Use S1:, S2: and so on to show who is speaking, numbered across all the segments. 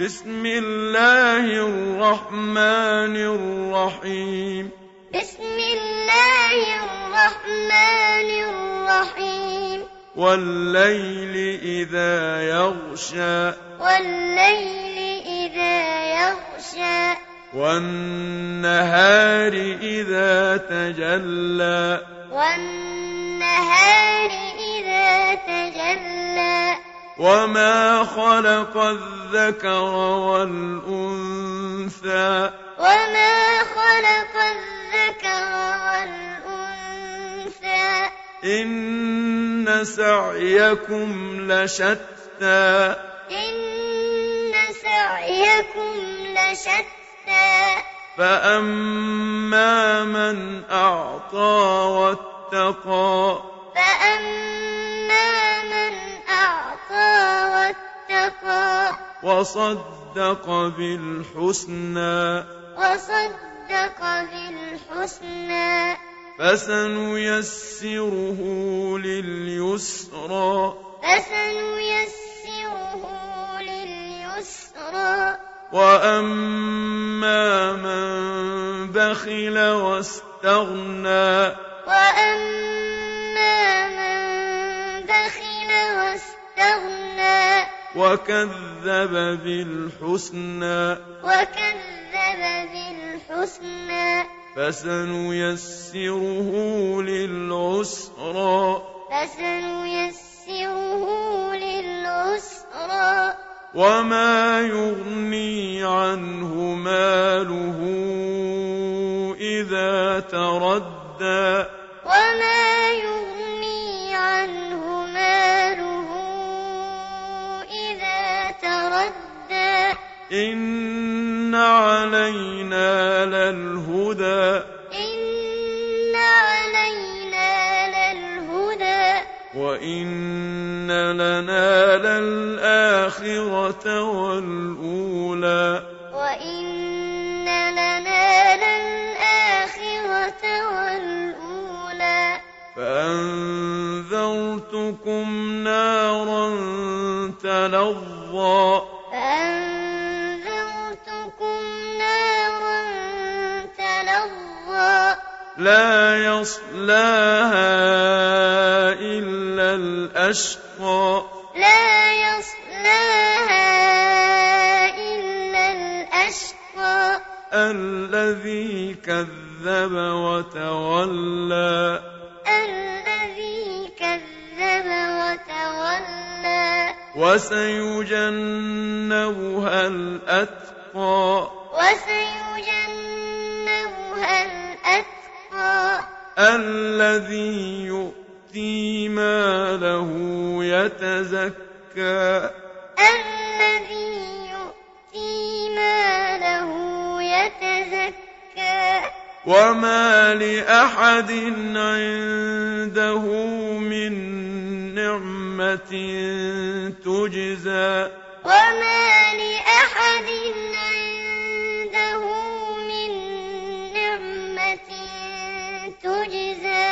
S1: بسم الله الرحمن الرحيم
S2: بسم الله الرحمن الرحيم
S1: والليل إذا يغشى
S2: والليل إذا يغشى
S1: والنهار إذا تجلى
S2: والنهار إذا تجلى
S1: وما خلق الذكر والأنثى
S2: وما خلق الذكر والأنثى
S1: إن سعيكم لشتى
S2: إن سعيكم لشتى
S1: فأما من أعطى واتقى
S2: فأما من أعطى واتقى
S1: وصدق بالحسنى
S2: وصدق بالحسنى
S1: فسنيسره لليسرى
S2: فسنيسره لليسرى
S1: وأما من بخل واستغنى
S2: وأما من بخل واستغنى
S1: وكذب بالحسنى
S2: وكذب بالحسنى
S1: فسنيسره للعسرى
S2: فسنيسره للعسرى
S1: وما يغني عنه ماله إذا تردى
S2: وما يغني عنه ماله إذا تردى
S1: إن علينا للهدى
S2: إن علينا للهدى
S1: وإن لنا للآخرة والأولى
S2: وإن لنا للآخرة والأولى
S1: فأنذرتكم نارا تلظى
S2: فأنذرتكم نارا تلظى
S1: لا يصلاها إلا الأشقى
S2: لا يصلاها إلا الأشقى
S1: الذي كذب وتولى
S2: الذي كذب وتولى
S1: وسيجنبها الأتقى
S2: وسيجنبها الأتقى
S1: الذي يؤتي ماله يتزكى
S2: الذي يؤتي ماله يتزكى
S1: وما لأحد عنده من نعمة تجزى
S2: وما لأحد عنده من نعمة تجزى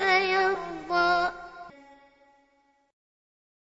S2: يرضى